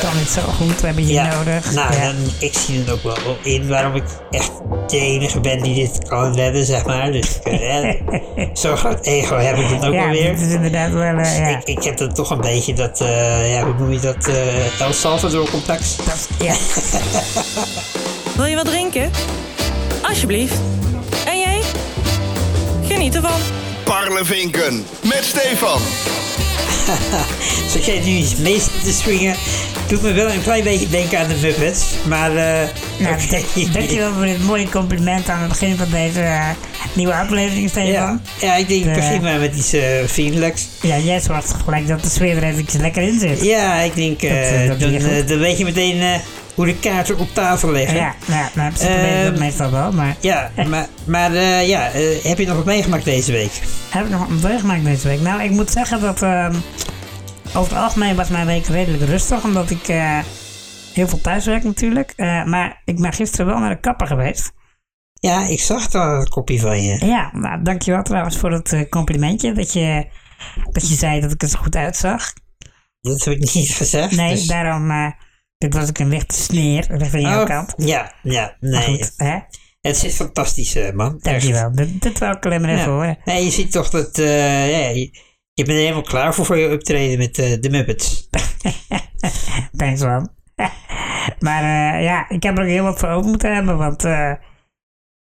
dan niet zo goed. We hebben je nodig. Nou, ja. dan, ik zie het ook wel wel in waarom ik echt de enige ben die dit kan redden, zeg maar. Dus eh, zo'n groot ego heb ik dan ook ja, alweer. dat is inderdaad wel... eh, ja. Ik, ik heb dan toch een beetje dat, eh, ja, hoe noem je dat, eh, El Salvador-complex. Dat- ja. Wil je wat drinken? Alsjeblieft. En jij? Geniet ervan. Parlevinken met Stefan. Zoals jij nu iets meest te swingen, doet me wel een klein beetje denken aan de Muppets. Maar, eh Nou, oké. dank- dankjewel voor dit mooie compliment aan het begin van deze eh, nieuwe aflevering, Ja, Stefan. ja, ik denk, ik Eh. begin maar met iets eh, vriendelijks. Ja, jij zorgt gelijk dat de sfeer er eventjes lekker in zit. Ja, ik denk, eh, eh, dat dan, doe je eh, goed. dan weet je meteen eh, hoe de kaarten op tafel liggen. Ja, ja nou, op zich weet ik dat Ehm, meestal wel, maar... Ja, maar, maar eh, ja, eh, heb je nog wat meegemaakt deze week? Heb ik nog een week gemaakt deze week? Nou, ik moet zeggen dat... ehm, over het algemeen was mijn week redelijk rustig, omdat ik eh, heel veel thuis werk natuurlijk. Eh, maar ik ben gisteren wel naar de kapper geweest. Ja, ik zag dat een kopje van je. Ja, nou, dankjewel trouwens voor het eh, complimentje dat je, dat je zei dat ik er zo goed uitzag. Dat heb ik niet gezegd. Nee, dus- daarom... eh, dit was ook een lichte sneer, recht aan jouw Oh, kant. Ja, ja, Maar nee. goed, hè? Het zit fantastisch, eh, man. Dankjewel. Dit, dit wou ik alleen maar Echt. even Ja. horen. Nee, je ziet toch dat, eh, ja, je, je bent er helemaal klaar voor voor je optreden met eh, de Muppets. Thanks man. maar eh, ja, ik heb er ook heel wat voor over moeten hebben, want eh,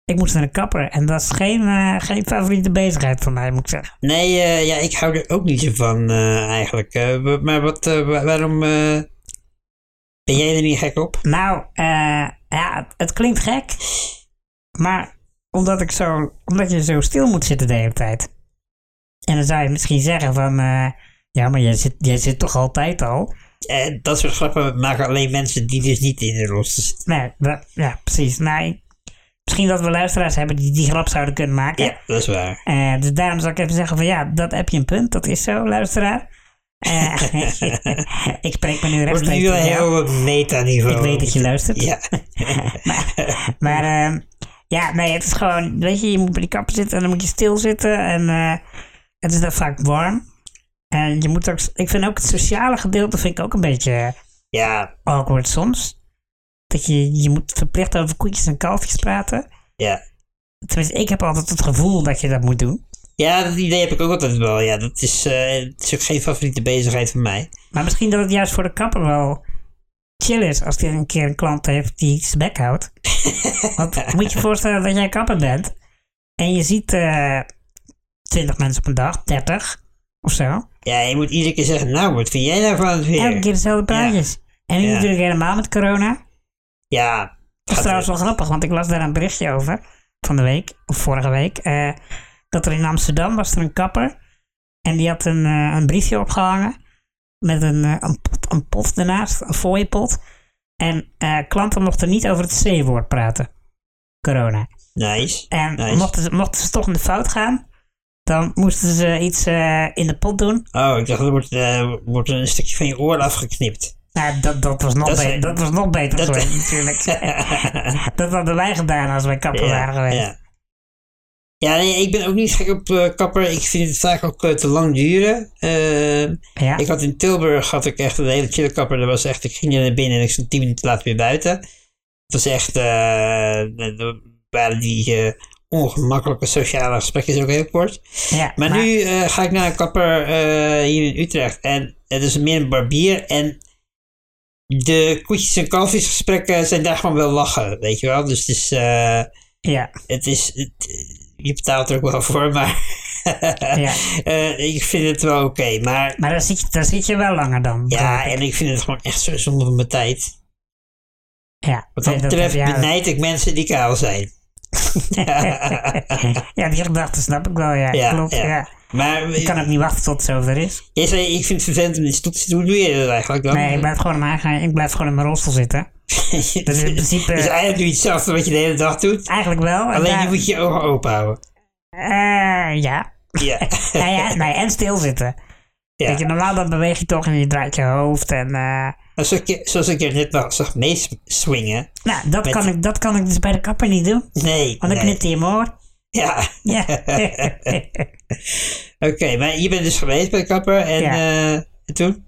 ik moest naar de kapper. En dat is geen, eh, geen favoriete bezigheid van mij, moet ik zeggen. Nee, eh, ja, ik hou er ook niet zo van eh, eigenlijk. Eh, wa- maar wat, eh, wa- waarom eh, ben jij er niet gek op? Nou, eh, ja, het, het klinkt gek, maar omdat, ik zo, omdat je zo stil moet zitten de hele tijd. En dan zou je misschien zeggen van, eh, ja, maar jij zit, jij zit toch altijd al? Eh, dat soort grappen maken alleen mensen die dus niet in de rolstoel zitten. Nee, dat- ja, precies. Nou, ik- misschien dat we luisteraars hebben die die grap zouden kunnen maken. Ja, dat is waar. Eh, dus daarom zou ik even zeggen van ja, dat heb je een punt. Dat is zo, luisteraar. Eh, ik spreek me nu Wordt nu rechtstreeks wel tot jou. heel meta-niveau. Ik weet dat je luistert. Ja, Maar ehm, ja, nee, het is gewoon, weet je, je moet bij die kapper zitten en dan moet je stilzitten. En eh, het is dan vaak warm. En je moet ook, ik vind ook het sociale gedeelte vind ik ook een beetje ja, awkward soms. Dat je, je moet verplicht over koetjes en kalfjes praten. ja. Tenminste, ik heb altijd het gevoel dat je dat moet doen. Ja, dat idee heb ik ook altijd wel. Ja, dat is, eh, het is ook geen favoriete bezigheid van mij. Maar misschien dat het juist voor de kapper wel chill is als hij een keer een klant heeft die zijn bek houdt. Want moet je je voorstellen dat jij kapper bent en je ziet eh 20 mensen op een dag, 30 of zo. Ja, je moet iedere keer zeggen, nou, wat vind jij nou van het Elke weer? keer dezelfde praatjes. En nu Ja. natuurlijk helemaal met corona. Ja, Dat is gaat- trouwens wel grappig, want ik las daar een berichtje over van de week, of vorige week. eh, dat er in Amsterdam was er een kapper. En die had een, eh, een briefje opgehangen. Met een, eh, een, pot, een pot ernaast, een fooiepot. En eh, klanten mochten niet over het C-woord praten. Corona. nice. En Nice. mochten, ze, mochten ze toch in de fout gaan, dan moesten ze iets eh, in de pot doen. Oh, ik dacht, er wordt, eh, wordt een stukje van je oor afgeknipt. Nou, dat, dat, was, nog Dat is- beter, dat was nog beter dat- geweest natuurlijk. dat hadden wij gedaan als wij kapper waren geweest. ja. Ja, nee, ik ben ook niet gek op eh, kapper. Ik vind het vaak ook eh, te lang duren. Ehm, Ja. Ik had in Tilburg had ik echt een hele chille kapper. Dat was echt, ik ging er naar binnen en ik stond tien minuten later weer buiten. Het was echt, eh, er- er waren die eh, ongemakkelijke sociale gesprekjes ook heel kort. Ja, Maar, nu eh, ga ik naar een kapper eh, hier in Utrecht. En het is meer een barbier. En de koetjes en kalfjes gesprekken zijn daar gewoon wel lachen, weet je wel. Dus het is, eh, Ja, het is het- je betaalt er ook wel voor, maar ja. eh, ik vind het wel oké. Maar Maar daar zit, je- daar zit je wel langer dan. ja, begrijp ik. en ik vind het gewoon echt zo zonde van mijn tijd. ja. Wat dat Nee, betreft heb jij- benijd ik mensen die kaal zijn. ja, die gedachte snap ik wel, ja. Ja, Klopt, ja. ja. Maar Ik kan ook niet wachten tot het zover is. jij zei, ik vind het vervelend om die stoel te zitten. Hoe doe je dat eigenlijk dan? Nee, ik blijf gewoon in mijn, eigen- ik blijf gewoon in mijn rolstoel zitten. dat is in principe- is eigenlijk nu hetzelfde wat je de hele dag doet. Eigenlijk wel. en Alleen daar- je moet je ogen open houden. Eh, ja. Ja. Ja, ja. Nee, en stilzitten. Ja. Weet je, normaal dan beweeg je toch en je draait je hoofd en... eh, Als ik je- zoals ik je net nog zag meeswingen. nou, dat Met- kan, ik, dat kan ik dus bij de kapper niet doen. Nee. Want dan nee. knipt hij hem hoor. Ja. Ja. Oké, maar je bent dus geweest bij de kapper en Ja. eh, en toen?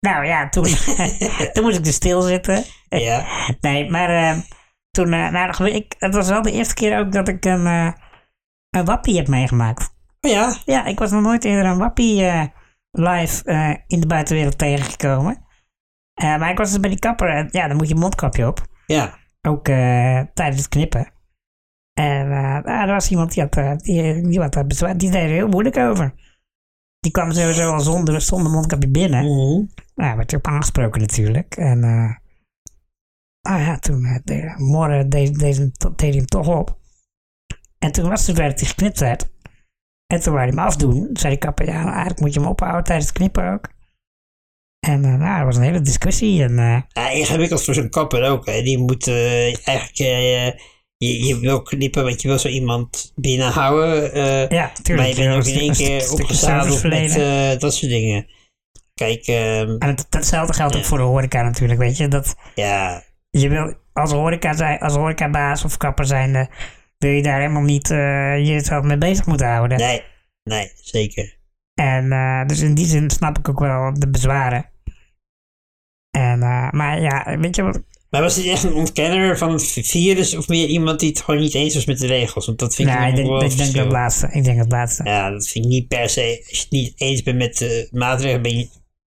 Nou ja, toen, toen moest ik dus stilzitten. Ja. Nee, maar eh, toen... eh, nou, dat gebe- ik, het was wel de eerste keer ook dat ik een, eh, een wappie heb meegemaakt. Oh ja. Ja, ik was nog nooit eerder een wappie eh, live eh, in de buitenwereld tegengekomen. Eh, maar ik was dus bij die kapper. en ja, dan moet je mondkapje op. Ja. Ook eh, tijdens het knippen. En eh, ah, er was iemand die had, eh, die, die had daar bezwaar. Die deed er heel moeilijk over. Die kwam sowieso al zonder, zonder mondkapje binnen. Mhm. Nou, werd erop aangesproken natuurlijk. En eh ah ja, toen eh, de, morgen deed, deed, hem to- deed hij hem toch op. En toen was het werd hij geknipt werd. En toen wou hij hem afdoen. Toen zei de kapper, ja, nou, eigenlijk moet je hem ophouden tijdens het knippen ook. En eh, nou, er was een hele discussie. En eh, Ja, ingewikkeld voor zo'n kapper ook. Hè. Die moet eh, eigenlijk... eh, je, je wil knippen, want je wil zo iemand binnenhouden. eh ja, maar tuurlijk. je bent ook in één keer opgezadeld met verleden. eh, dat soort dingen. Kijk, ehm, En het, datzelfde geldt ook Ja. voor de horeca natuurlijk, weet je. Dat, ja, je wil als, horeca zijn, als horecabaas of kapper zijnde... wil je daar helemaal niet eh jezelf mee bezig moeten houden. nee, nee, zeker. En eh, dus in die zin snap ik ook wel de bezwaren. En, eh, maar ja, weet je wat? Maar was dit echt een ontkenner van het virus of meer iemand die het gewoon niet eens was met de regels? Want dat vind Nou, ik ik nog denk, wel ik denk verschil. dat laatste. Ik denk dat laatste. Ja, dat vind ik niet per se. Als je het niet eens bent met de maatregelen, ben je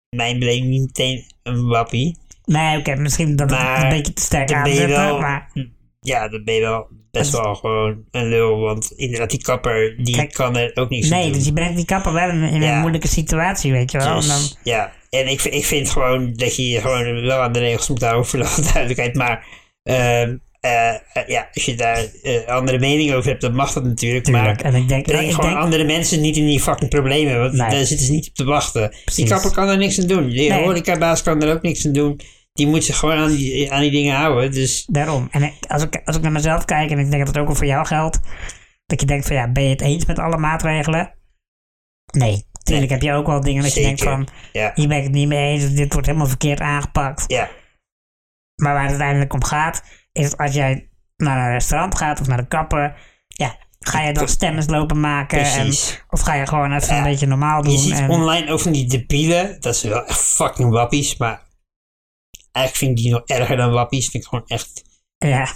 in mijn beleving niet meteen een wappie. Nee, oké, misschien dat het Maar een beetje te sterk Dan ben je aanzetten. wel, Maar Hm. ja, dan ben je wel best wel gewoon een lul. Want inderdaad, die kapper, die Kijk, kan er ook niks aan nee, doen. dus je brengt die kapper wel in, in Ja. een moeilijke situatie, weet je wel. Dus, En dan, ja, en ik, ik vind gewoon dat je je gewoon wel aan de regels moet houden voor de duidelijkheid. Maar ehm, eh, eh, ja, als je daar eh, andere mening over hebt, dan mag dat natuurlijk. tuurlijk. Maar En ik denk, breng ik gewoon denk andere mensen niet in die fucking problemen. Want Nee. daar zitten ze niet op te wachten. Die Precies. kapper kan daar niks aan doen. Die Nee. horecabaas kan er ook niks aan doen. Die moet zich gewoon aan die, aan die dingen houden. Dus daarom. En ik- als ik, als ik naar mezelf kijk, en ik denk dat het ook wel voor jou geldt, dat je denkt van ja, ben je het eens met alle maatregelen? Nee, tuurlijk heb je ook wel dingen dat je denkt Zeker. van, ja, hier ben ik het niet mee eens, of dit wordt helemaal verkeerd aangepakt. ja, Maar waar het uiteindelijk om gaat, is als jij naar een restaurant gaat of naar de kapper, ja, ga je dan stemmes lopen maken? En, precies. of ga je gewoon even Ja, een beetje normaal doen? Je ziet en, online ook van die debielen. Dat zijn wel echt fucking wappies. Maar eigenlijk vind ik die nog erger dan wappies. Vind ik gewoon echt ja,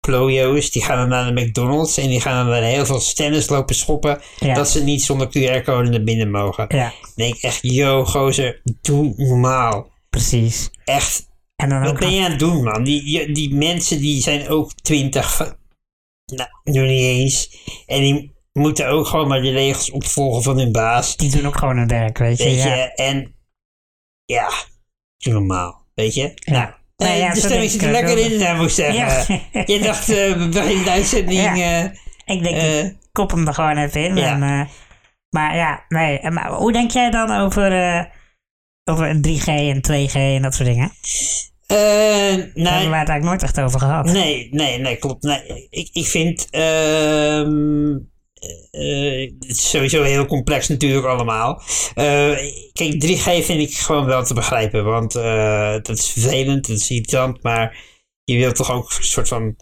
klojo's. Die gaan dan naar de McDonald's. En die gaan dan naar heel veel stennis lopen schoppen. ja, Dat ze niet zonder QR-code naar binnen mogen. ja, Dan denk ik echt, yo gozer, doe normaal. precies. Echt, En dan wat ook ben je aan het doen man? Die, die, die mensen die zijn ook twintig. Nou, nu niet eens. En die moeten ook gewoon maar de regels opvolgen van hun baas. die doen ook gewoon hun werk, weet je. Weet ja. je, en ja, doe normaal, weet je. Nou, Nee, eh, ja, de zo stemming denk zit ik er ook lekker wel. in, daar moet ik zeggen. Ja. Je dacht, eh, we beginnen de uitzending, Ja. eh, ik denk, eh, ik kop hem er gewoon even in. ja. En, eh, maar ja, nee. en Maar hoe denk jij dan over, eh, over een 3G en 2G en dat soort dingen? eh, Daar hebben nou, we het eigenlijk nooit echt over gehad. nee, nee, nee, klopt. Nee, ik, ik vind, ehm, eh, het is sowieso heel complex natuurlijk allemaal. Eh, kijk, 3G vind ik gewoon wel te begrijpen, want eh, dat is vervelend, dat is irritant, maar je wilt toch ook een soort van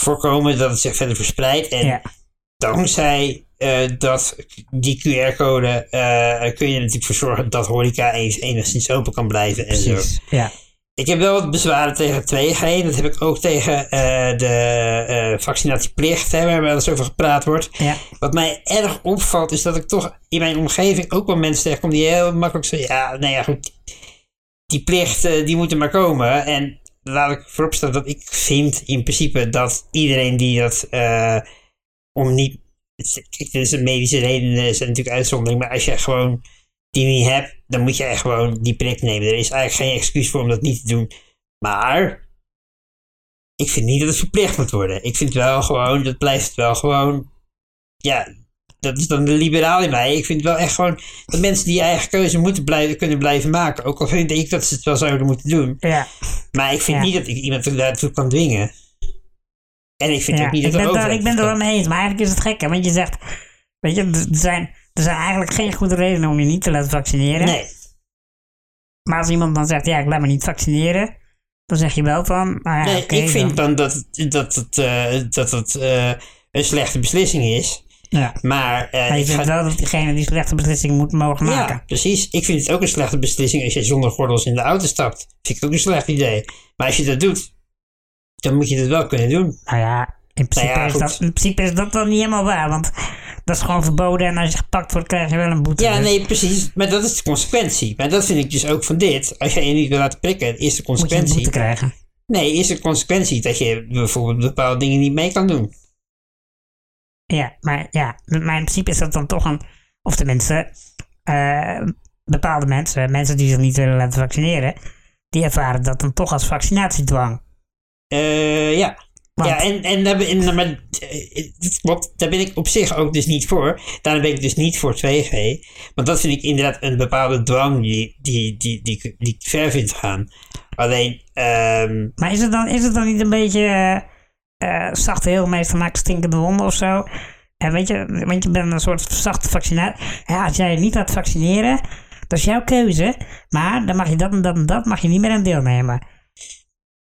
voorkomen dat het zich verder verspreidt. En Ja. dankzij eh, dat, die QR-code eh, kun je er natuurlijk voor zorgen dat horeca eens, enigszins open kan blijven en zo. Precies. Ja. Ik heb wel wat bezwaren tegen 2G. Dat heb ik ook tegen eh, de eh, vaccinatieplicht, hè, waar wel eens over gepraat wordt. Ja. Wat mij erg opvalt, is dat ik toch in mijn omgeving ook wel mensen tegenkom die heel makkelijk zeggen: ja, nou ja, goed. Die plicht, eh, die moet er maar komen. En laat ik vooropstellen dat ik vind in principe dat iedereen die dat eh, om niet. Kijk, dit is een medische reden, er zijn natuurlijk uitzonderingen, maar als je gewoon die niet hebt, dan moet je echt gewoon die prik nemen. Er is eigenlijk geen excuus voor om dat niet te doen. Maar ik vind niet dat het verplicht moet worden. Ik vind wel gewoon, dat blijft wel gewoon. Ja, dat is dan de liberaal in mij. Ik vind wel echt gewoon dat mensen die eigen keuze moeten blijven, kunnen blijven maken. Ook al vind ik dat ze het wel zouden moeten doen. ja. Maar ik vind Ja. niet dat ik iemand daartoe kan dwingen. En ik vind Ja, ook niet dat ik, de ben daar, overheid ik ben het dat er wel kan. mee eens, maar eigenlijk is het gek, hè? Want je zegt, weet je, er zijn, er zijn eigenlijk geen goede redenen om je niet te laten vaccineren. Nee, Maar als iemand dan zegt, ja, ik laat me niet vaccineren, dan zeg je wel van, nou ja, Nee, oké, ik vind dan- dan dat, dat het, eh, dat het eh, een slechte beslissing is. Ja. Maar eh, Maar je ik vindt ga- wel dat diegene die slechte beslissing moet mogen maken. Ja, precies. Ik vind het ook een slechte beslissing als je zonder gordels in de auto stapt. Vind ik ook een slecht idee. Maar als je dat doet, dan moet je dat wel kunnen doen. Nou ja, in principe, Nou ja, is goed. dat, in principe is dat dan niet helemaal waar. Want dat is gewoon verboden en als je gepakt wordt krijg je wel een boete. Ja, Dus nee, precies. Maar dat is de consequentie. Maar dat vind ik dus ook van dit. Als jij je niet wil laten prikken, is de moet je een consequentie. boete krijgen. nee, is de consequentie dat je bijvoorbeeld bepaalde dingen niet mee kan doen. Ja, maar, ja, maar in principe is dat dan toch een... Of tenminste, eh, bepaalde mensen, mensen die zich niet willen laten vaccineren... die ervaren dat dan toch als vaccinatiedwang. Eh, ja. Want- Ja, en, en, daar ben- en maar, eh, dat klopt, daar ben ik op zich ook dus niet voor. Daarom ben ik dus niet voor 2G. Want dat vind ik inderdaad een bepaalde dwang die, die, die, die, ik- die ik ver vind gaan. Alleen, ehm, Maar is het dan, is het dan niet een beetje eh, eh, zachte heel meestal maakt stinkende wonden of zo? En weet je, want je bent een soort zachte vaccinaat. Ja, als jij je niet laat vaccineren, dat is jouw keuze. Maar dan mag je dat en dat en dat, mag je niet meer aan deelnemen.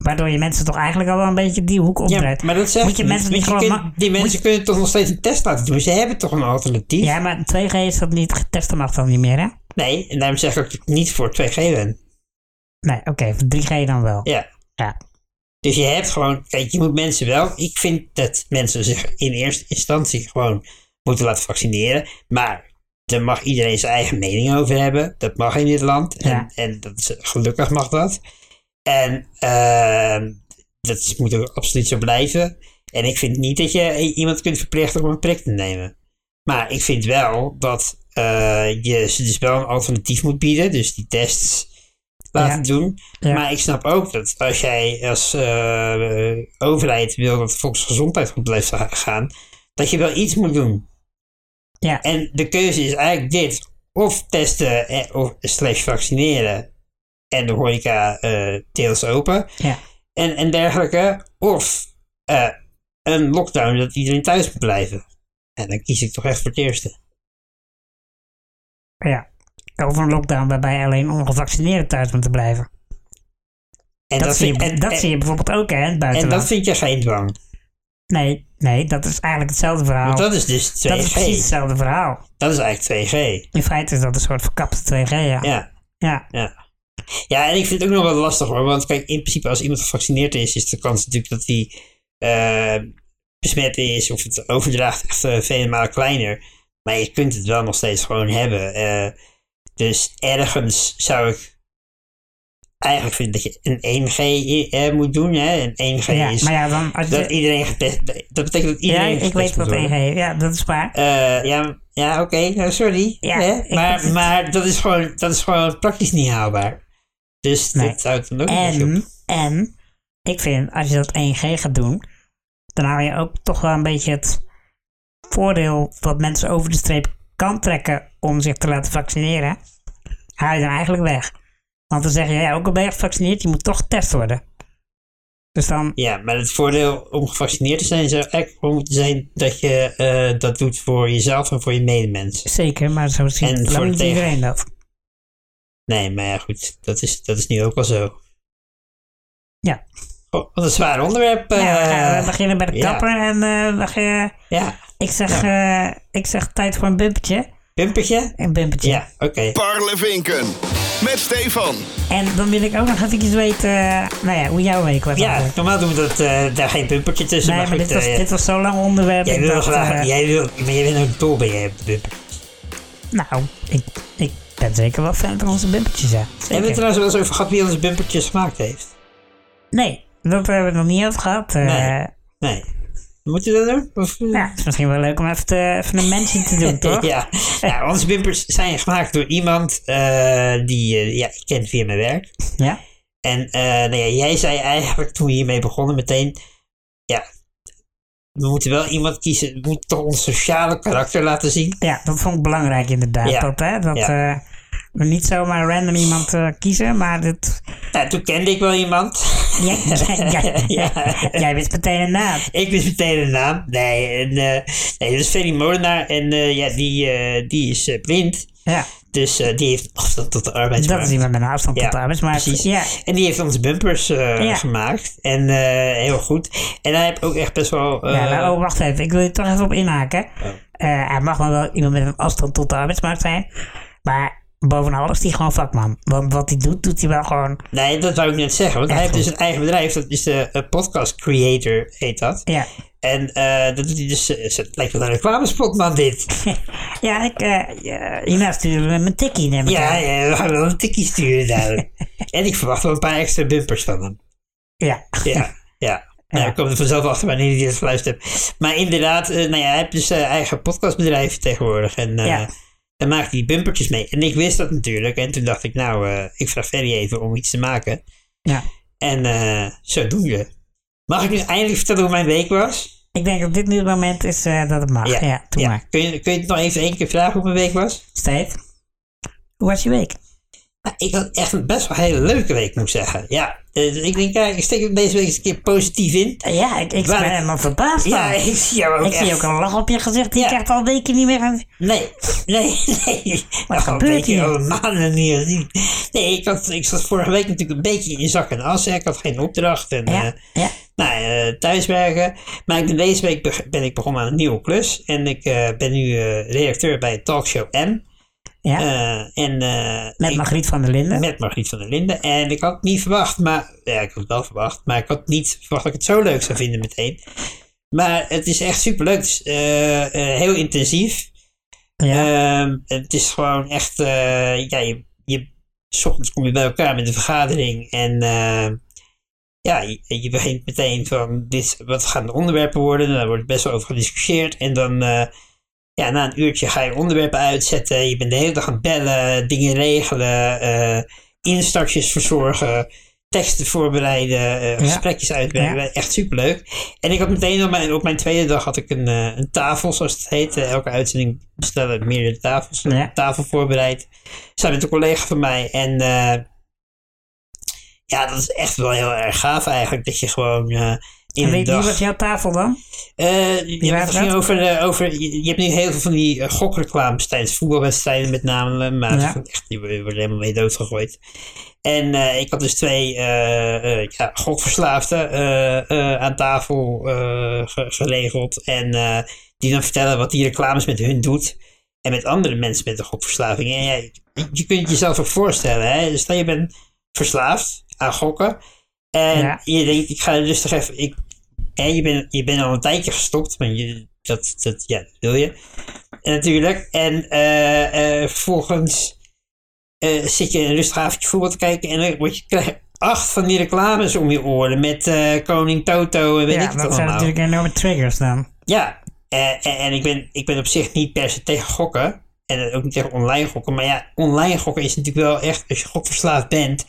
Waardoor je mensen toch eigenlijk al wel een beetje die hoek ja, opdraait. maar dat zegt Moet je mensen niet gewoon ma- Die mensen kunnen toch nog steeds een test laten doen. Ze hebben toch een alternatief? Ja, maar 2G is dat niet, testen mag dan niet meer, hè? Nee, en daarom zeg ik ook dat ik niet voor 2G ben. Nee, oké, voor 3G dan wel. Ja. Ja. Dus je hebt gewoon, kijk, je moet mensen wel. Ik vind dat mensen zich in eerste instantie gewoon moeten laten vaccineren. Maar daar mag iedereen zijn eigen mening over hebben. Dat mag in dit land. En, Ja. en dat is, gelukkig mag dat. En ehm, dat is- moet ook absoluut zo blijven. En ik vind niet dat je i- iemand kunt verplichten om een prik te nemen. Maar ik vind wel dat eh, je ze dus wel een alternatief moet bieden. Dus die tests laten Ja. doen. Ja. Maar ik snap ook dat als jij als eh, overheid wil dat volksgezondheid goed blijft ga- gaan, dat je wel iets moet doen. Ja. En de keuze is eigenlijk dit. Of testen eh, of slash vaccineren en de horeca eh, deels open Ja. en, en dergelijke. Of eh, een lockdown dat iedereen thuis moet blijven. En dan kies ik toch echt voor het eerste. ja. Over een lockdown waarbij alleen ongevaccineerden thuis moeten blijven. En Dat, zie, vind- je, en- dat en- zie je bijvoorbeeld ook hè, in het en buitenland. dat vind je geen dwang. Nee, nee, dat is eigenlijk hetzelfde verhaal. Want Nou, Dat, dat is dus 2G. is precies hetzelfde verhaal. Dat is eigenlijk 2G. In feite is dat een soort verkapte 2G, ja. Ja, Ja. Ja. ja, en ik vind het ook nog wel lastig hoor. Want kijk, in principe als iemand gevaccineerd is, is de kans natuurlijk dat hij eh, besmet is of het overdraagt echt eh, vele malen kleiner. Maar je kunt het wel nog steeds gewoon hebben. eh. dus ergens zou ik eigenlijk vinden dat je een 1G i- eh, moet doen. Hè? Een 1G Ja, is maar ja, dan... Als dat je, iedereen getest... Dat betekent dat ja, iedereen ik getest weet moet wat worden. 1G Ja, dat is waar. Eh, ja, ja oké, nou, sorry. Ja, Hè? ik vind Maar, het- maar dat, is gewoon, dat is gewoon praktisch niet haalbaar. Dus Nee. dat houdt dan ook niet op. En, en, ik vind, als je dat 1G gaat doen, dan haal je ook toch wel een beetje het voordeel wat mensen over de streep kan trekken om zich te laten vaccineren, haal je dan eigenlijk weg. Want dan zeg je, ja, ook al ben je gevaccineerd, je moet toch getest worden. Dus dan, Ja, maar het voordeel om gevaccineerd te zijn zou eigenlijk gewoon moeten zijn dat je eh, dat doet voor jezelf en voor je medemens. Zeker, maar zo En ziet voor lang niet tegen- iedereen dat. Nee, maar ja, goed, dat is, dat is nu ook wel zo. Ja. Oh, wat een zwaar onderwerp. eh. Nou, we, gaan, we beginnen bij de ja. kapper en eh, we gaan- ja, ik, zeg, eh, ik zeg tijd voor een bumpertje. pumpertje? Een bumpertje. Ja, oké. Parlevinken met Stefan. En dan wil ik ook nog eventjes weten eh, nou ja, hoe jouw week was. Ja, eigenlijk. normaal doen we dat, eh, daar geen pumpertje tussen. nee, maar maar, goed, dit, was, eh, dit was zo'n lang onderwerp. jij ik wil dacht, graag, eh, jij wil, maar jij bent ook dol bij je bumper. Nou, ik, ik ben zeker wel fan van onze bumpertjes, ja. Hebben we Zeker. het trouwens wel eens over gehad wie onze bumpertjes gemaakt heeft? Nee, dat hebben we nog niet over gehad. eh, Nee. Nee. Moeten we dat doen? Of, eh? Ja, het is misschien wel leuk om even, te, even een mention te doen, toch? ja. Ja, onze bumpers zijn gemaakt door iemand eh, die eh, ja, ik ken via mijn werk. Ja? En eh, nou ja, jij zei eigenlijk toen we hiermee begonnen meteen, ja, we moeten wel iemand kiezen, we moeten toch ons sociale karakter laten zien. Ja, dat vond ik belangrijk inderdaad. Ja. Dat, hè, dat Ja. eh, we niet zomaar random iemand eh, kiezen, maar dit, Nou, toen kende ik wel iemand. jij, jij, jij- Ja. jij wist meteen een naam. Ik wist meteen de naam. Nee, en, eh, nee dat is Ferry Molenaar en eh, ja, die, eh, die is eh, blind. Ja, Dus eh, die heeft afstand tot de arbeidsmarkt. Dat is iemand met een afstand tot Ja, de arbeidsmarkt. precies. Ja, En die heeft onze bumpers eh, Ja. gemaakt. En eh, heel goed. En hij heeft ook echt best wel... eh, Oh. ja maar, oh, wacht even. Ik wil je toch even op inhaken. Eh, hij mag wel wel iemand met een afstand tot de arbeidsmarkt zijn. Maar bovenal is hij gewoon vakman. Want wat hij doet, doet hij wel gewoon... Nee, dat wou ik net zeggen. Want Echt hij heeft goed. dus een eigen bedrijf. Dat is de eh, Podcast Creator, heet dat. Ja, En eh, dat doet hij dus... eh, het lijkt wel een reclamespot, man, dit. ja ik, eh, ja, hierna sturen we mijn tikkie, neem ik ja, aan. ja, we gaan wel een tikkie sturen daar. en ik verwacht wel een paar extra bumpers van hem. Ja. Ja, ja. Nou, ik kom er vanzelf achter wanneer je dit geluisterd hebt. Maar inderdaad, eh, nou ja, hij heeft dus zijn eigen podcastbedrijf tegenwoordig. En eh, Ja. daar maakt hij bumpertjes mee. En ik wist dat natuurlijk. En toen dacht ik, nou, eh, ik vraag Ferry even om iets te maken. ja. En eh zo doen we. Mag ik nu eindelijk vertellen hoe mijn week was? Ik denk op dit nu moment is eh, dat het mag. Ja, doe maar. Kun, je, kun je het nog even één keer vragen hoe mijn week was? Steve, hoe was je week? Nou, ik had echt een best wel hele leuke week, moet ik zeggen. Ja, eh, dus ik denk, ja, ik steek hem deze week eens een keer positief in. Eh, Ja, ik, ik ben Waar- helemaal verbaasd Ja, van. ik zie jou ook Ik zie echt- ook een lach op je gezicht. Die Ja. krijgt al weken niet meer. aan- Nee, nee, nee. Wat Nou, gebeurt een beetje hier? Al maanden niet gezien. Nee, ik, had, ik zat vorige week natuurlijk een beetje in zak en as. hè. Ik had geen opdracht en Ja, eh, ja. nou, eh, thuiswerken. Maar ik ben deze week beg- ben ik begonnen aan een nieuwe klus. En ik eh, ben nu eh, redacteur bij Talkshow M. ja. Eh, en, eh, Met ik- Margriet van der Linden. met Margriet van der Linden. En ik had het niet verwacht, maar. Ja, ik had het wel verwacht, maar ik had niet verwacht dat ik het zo leuk zou vinden meteen. Maar het is echt superleuk. Het is eh, eh, heel intensief. ja. Ehm, het is gewoon echt, eh, ja, je, je, 's ochtends kom je bij elkaar met een vergadering en eh, ja, je, je begint meteen van dit, wat gaan de onderwerpen worden? Nou, Daar wordt best wel over gediscussieerd en dan, eh, ja, na een uurtje ga je onderwerpen uitzetten. Je bent de hele dag aan het bellen, dingen regelen, eh, instartjes verzorgen, teksten voorbereiden, eh, gesprekjes uitwerken. Echt superleuk. En ik had meteen op mijn, op mijn tweede dag had ik een, eh, een tafel, zoals het heet. Eh, Elke uitzending bestellen we meerdere tafels. Ik heb Ja. Een tafel voorbereid. Samen met een collega van mij. En eh, ja, dat is echt wel heel erg gaaf eigenlijk. Dat je gewoon eh, in En een weet dag... wie was jouw tafel dan? Eh, je, waren hebt het ging dat? over, eh, over, je, je hebt nu heel veel van die eh, gokreclames tijdens voetbalwedstrijden met name. Maar Ja. echt, die wo- worden helemaal mee doodgegooid. En eh, ik had dus twee eh, eh, ja, gokverslaafden eh, eh, aan tafel eh, ge- geregeld. En eh, die dan vertellen wat die reclames met hun doet. En met andere mensen met een gokverslaving. En ja, je, je kunt het jezelf ook voorstellen. Hè? Dus Stel je bent verslaafd aan gokken. En Ja. je denkt, ik ga rustig even... Ik, en je bent je bent al een tijdje gestopt, maar je, dat, dat, ja, dat wil je. En natuurlijk. En eh, eh, vervolgens eh, zit je een rustig avondje voetbal te kijken en dan word je, krijg je acht van die reclames om je oren met eh, koning Toto en weet ik Ja, het dat zijn allemaal. natuurlijk enorme triggers dan. Ja, eh, en, en ik, ben, ik ben op zich niet per se tegen gokken. En ook niet tegen online gokken. Maar ja, online gokken is natuurlijk wel echt, als je gokverslaafd bent.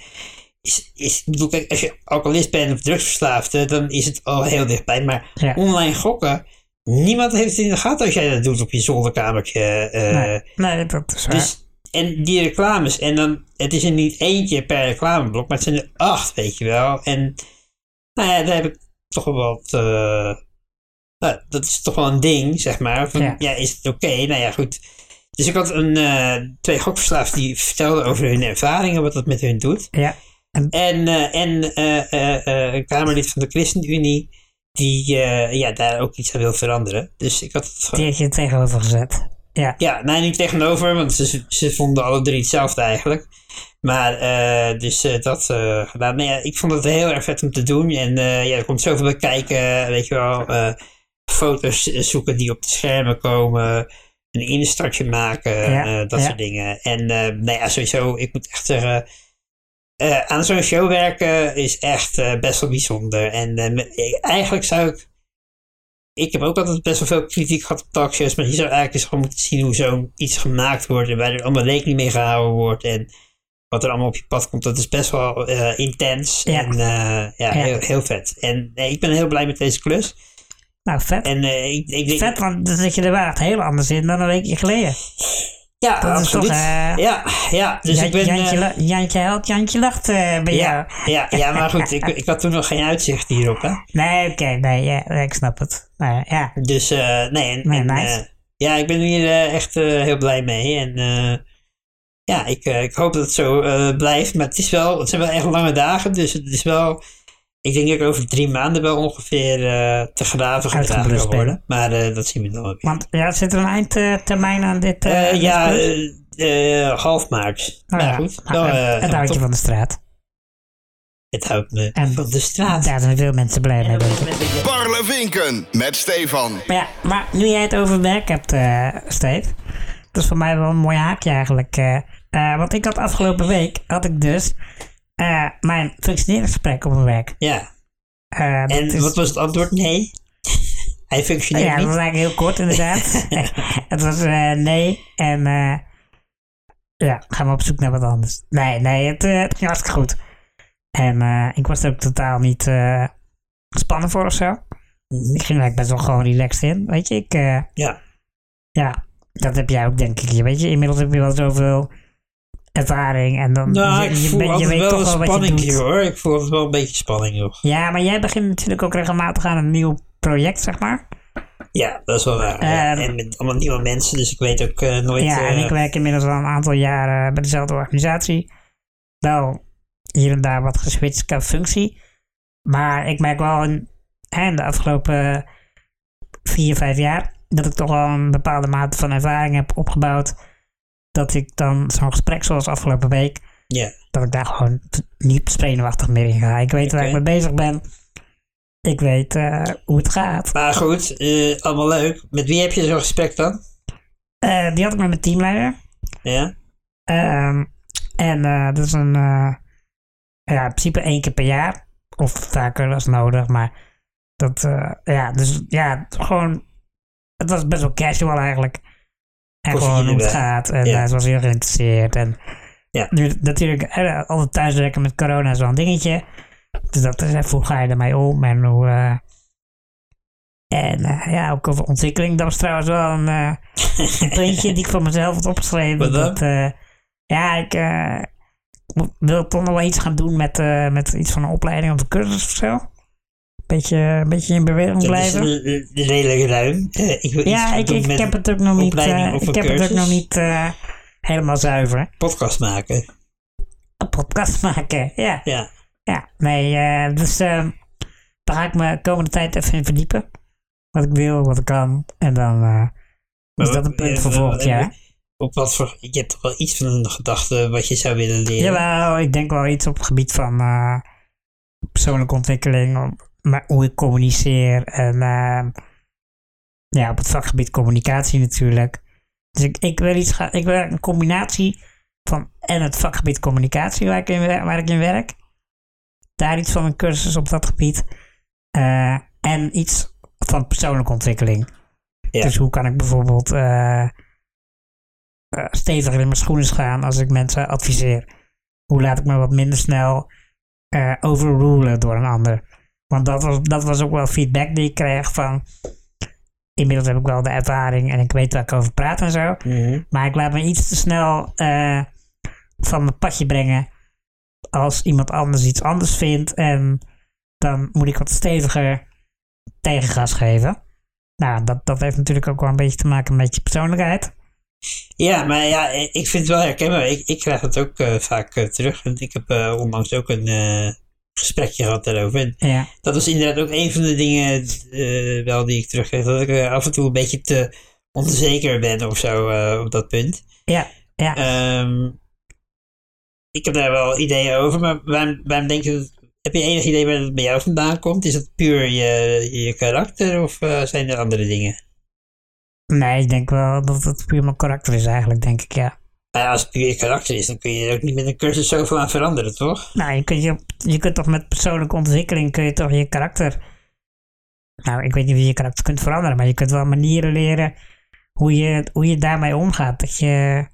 Is, is, ik bedoel, kijk, als je alcoholist bent of drugsverslaafde, dan is het al heel dichtbij. Maar Ja. online gokken, niemand heeft het in de gaten als jij dat doet op je zolderkamertje. eh, Nee, nee dat is waar. dus, en die reclames, en dan, het is er niet eentje per reclameblok, maar het zijn er acht, weet je wel. En nou ja, daar heb ik toch wel wat, eh, nou, dat is toch wel een ding, zeg maar. Van, ja. Ja. is het oké? Nou ja, goed. Dus ik had een, eh, twee gokverslaafden die vertelden over hun ervaringen, wat dat met hun doet. ja. En, eh, en eh, eh, eh, een Kamerlid van de ChristenUnie, die eh, ja, daar ook iets aan wil veranderen. Dus ik had het gewoon- Die heeft je tegenover gezet. Ja. ja, nee, niet tegenover, want ze, ze vonden alle drie hetzelfde eigenlijk. Maar, eh, dus eh, dat eh, gedaan. Nou ja, ik vond het heel erg vet om te doen. En eh, ja, er komt zoveel bij kijken, weet je wel. eh, foto's zoeken die op de schermen komen. Een instartje maken, Ja, eh, dat ja. soort dingen. En eh, nou ja, sowieso, ik moet echt zeggen... eh, aan zo'n show werken is echt eh, best wel bijzonder. En eh, me- eigenlijk zou ik ik heb ook altijd best wel veel kritiek gehad op talkshows, maar je zou eigenlijk eens gewoon moeten zien hoe zo'n iets gemaakt wordt en waar er allemaal rekening mee gehouden wordt en wat er allemaal op je pad komt. Dat is best wel eh, intens Ja. en eh, ja, Heel, heel vet. En eh, ik ben heel blij met deze klus. Nou, vet. En eh, ik, ik denk... Vet, want dan zit je er wel echt heel anders in dan een weekje geleden. ja, dat is absoluut. toch, eh, ja, ja, dus Jan- ik ben... Jantje, eh, la- Jantje helpt, Jantje lacht eh, bij ja, jou. ja, ja, maar goed, ik, ik had toen nog geen uitzicht hierop, hè. Nee, oké, nee, ja, ik snap het. Maar ja, Dus eh, nee, en, Nee, en, nice. eh, ja, ik ben hier eh, echt eh, heel blij mee. En eh, ja, ik, eh, ik hoop dat het zo eh, blijft. Maar het, is wel, het zijn wel echt lange dagen. Dus het is wel. Ik denk dat ik over drie maanden wel ongeveer eh, te graven gedragen Uitgeblust kan ben. worden. Maar eh, dat zien we dan wel weer. Want ja, zit er een eindtermijn aan dit? eh, Eh, dit ja, project? eh, eh, half maart. Nou maar ja, goed. maar wel, het- eh, het top. houtje van de straat. Het houdt me En- van de straat. Daar zijn veel mensen blij mee, denk ik. Parlevinken met Stefan. Maar ja, maar nu jij het over werk hebt, eh Steve. Dat is voor mij wel een mooi haakje eigenlijk. eh. Eh, want ik had afgelopen week, had ik dus eh, mijn functioneringsgesprek op mijn werk. Ja. Eh, dat En is- Oh wat was het antwoord? Nee. Hij functioneert Ja, dat was niet. eigenlijk heel kort inderdaad. het was eh, nee en eh, ja, gaan we op zoek naar wat anders. Nee, nee, het, eh, het ging hartstikke goed. En eh, ik was er ook totaal niet eh gespannen voor of zo. Mhm. Ik ging er eigenlijk best wel gewoon relaxed in, weet je. Ik, eh, Ja. ja, dat heb jij ook denk ik. Je Weet je, inmiddels heb je wel zoveel ervaring en dan Nou, je, ik je voel bent- je altijd wel een toch wat je spanning doet. hier hoor. Ik voel altijd wel een beetje spanning nog. Ja, maar jij begint natuurlijk ook regelmatig aan een nieuw project, zeg maar. Ja, dat is wel waar. ja. Ehm, en met allemaal nieuwe mensen, dus ik weet ook eh, nooit... ja, en eh, ik werk inmiddels al een aantal jaar eh, bij dezelfde organisatie. Wel hier en daar wat geswitcht qua functie. Maar ik merk wel in, hè, in de afgelopen vier, vijf jaar dat ik toch wel een bepaalde mate van ervaring heb opgebouwd. Dat ik dan zo'n gesprek zoals afgelopen week, ja. dat ik daar gewoon t- niet zenuwachtig meer in ga. Ik weet waar Oké. ik mee bezig ben. Ik weet eh, hoe het gaat. Maar goed, eh, allemaal leuk. Met wie heb je zo'n gesprek dan? Eh, die had ik met mijn teamleider. Ja? Ehm, en eh, dat is een, eh, ja, in principe één keer per jaar. Of vaker als nodig, maar dat, eh, ja, dus ja, het was gewoon, het was best wel casual eigenlijk. En Koffie gewoon hoe het erbij. gaat. En Ja. eh, ze was heel geïnteresseerd. En Ja. nu natuurlijk, eh, altijd thuiswerken met corona is wel een dingetje. Dus dat is even, hoe ga je ermee om en hoe... eh, en eh, ja, ook over ontwikkeling. Dat was trouwens wel een, eh, een puntje die ik voor mezelf had opgeschreven. Wat dan? Dat, eh, ja, ik eh, mo- wil toch nog wel iets gaan doen met, eh, met iets van een opleiding of een cursus of zo. Beetje, een beetje in beweging Dat is blijven. eh, eh, redelijk ruim. Eh, ik wil iets ja, gaan ik, doen ik, met heb het ook nog niet, opleiding eh, of ik een heb het ook cursus. nog niet eh, helemaal zuiver. podcast maken. Een podcast maken, ja. Ja. Ja, nee, eh, dus eh, daar ga ik me de komende tijd even in verdiepen. Wat ik wil, wat ik kan. En dan eh, is dat een punt eh, voor eh, volgend eh, jaar. Op wat voor... Je hebt toch wel iets van een gedachte wat je zou willen leren? Jawel, ik denk wel iets op het gebied van eh, persoonlijke ontwikkeling, op- maar hoe ik communiceer en eh, ja, op het vakgebied communicatie natuurlijk. Dus ik, ik wil iets gaan, ik wil een combinatie van en het vakgebied communicatie waar ik in, wer- waar ik in werk, daar iets van een cursus op dat gebied eh, en iets van persoonlijke ontwikkeling. Ja. Dus hoe kan ik bijvoorbeeld eh, eh, steviger in mijn schoenen gaan als ik mensen adviseer? hoe laat ik me wat minder snel eh overrulen door een ander. Want dat was, dat was ook wel feedback die ik kreeg van... Inmiddels heb ik wel de ervaring en ik weet waar ik over praat en zo. Mhm. Maar ik laat me iets te snel eh, van mijn padje brengen. Als iemand anders iets anders vindt. En dan moet ik wat steviger tegengas geven. Nou, dat, dat heeft natuurlijk ook wel een beetje te maken met je persoonlijkheid. Ja, maar ja, ik vind het wel herkenbaar. Ik, ik krijg het ook eh, vaak eh, terug. Want ik heb eh, onlangs ook een eh, gesprekje gehad daarover. En Ja, dat was inderdaad ook een van de dingen eh, wel die ik terugkreeg. Dat ik eh, af en toe een beetje te onzeker ben of zo eh, op dat punt. ja, ja. Ehm, ik heb daar wel ideeën over, maar waarom, waarom denk je dat... Heb je enig idee waar dat bij jou vandaan komt? Is dat puur je, je karakter of eh, zijn er andere dingen? Nee, ik denk wel dat het puur mijn karakter is eigenlijk, denk ik, ja. Nou ja, als het puur je karakter is, dan kun je er ook niet met een cursus zoveel aan veranderen, toch? Nou, je kunt, je, je kunt toch met persoonlijke ontwikkeling kun je toch je karakter. Nou, ik weet niet of je je karakter kunt veranderen, maar je kunt wel manieren leren hoe je, hoe je daarmee omgaat. Dat je.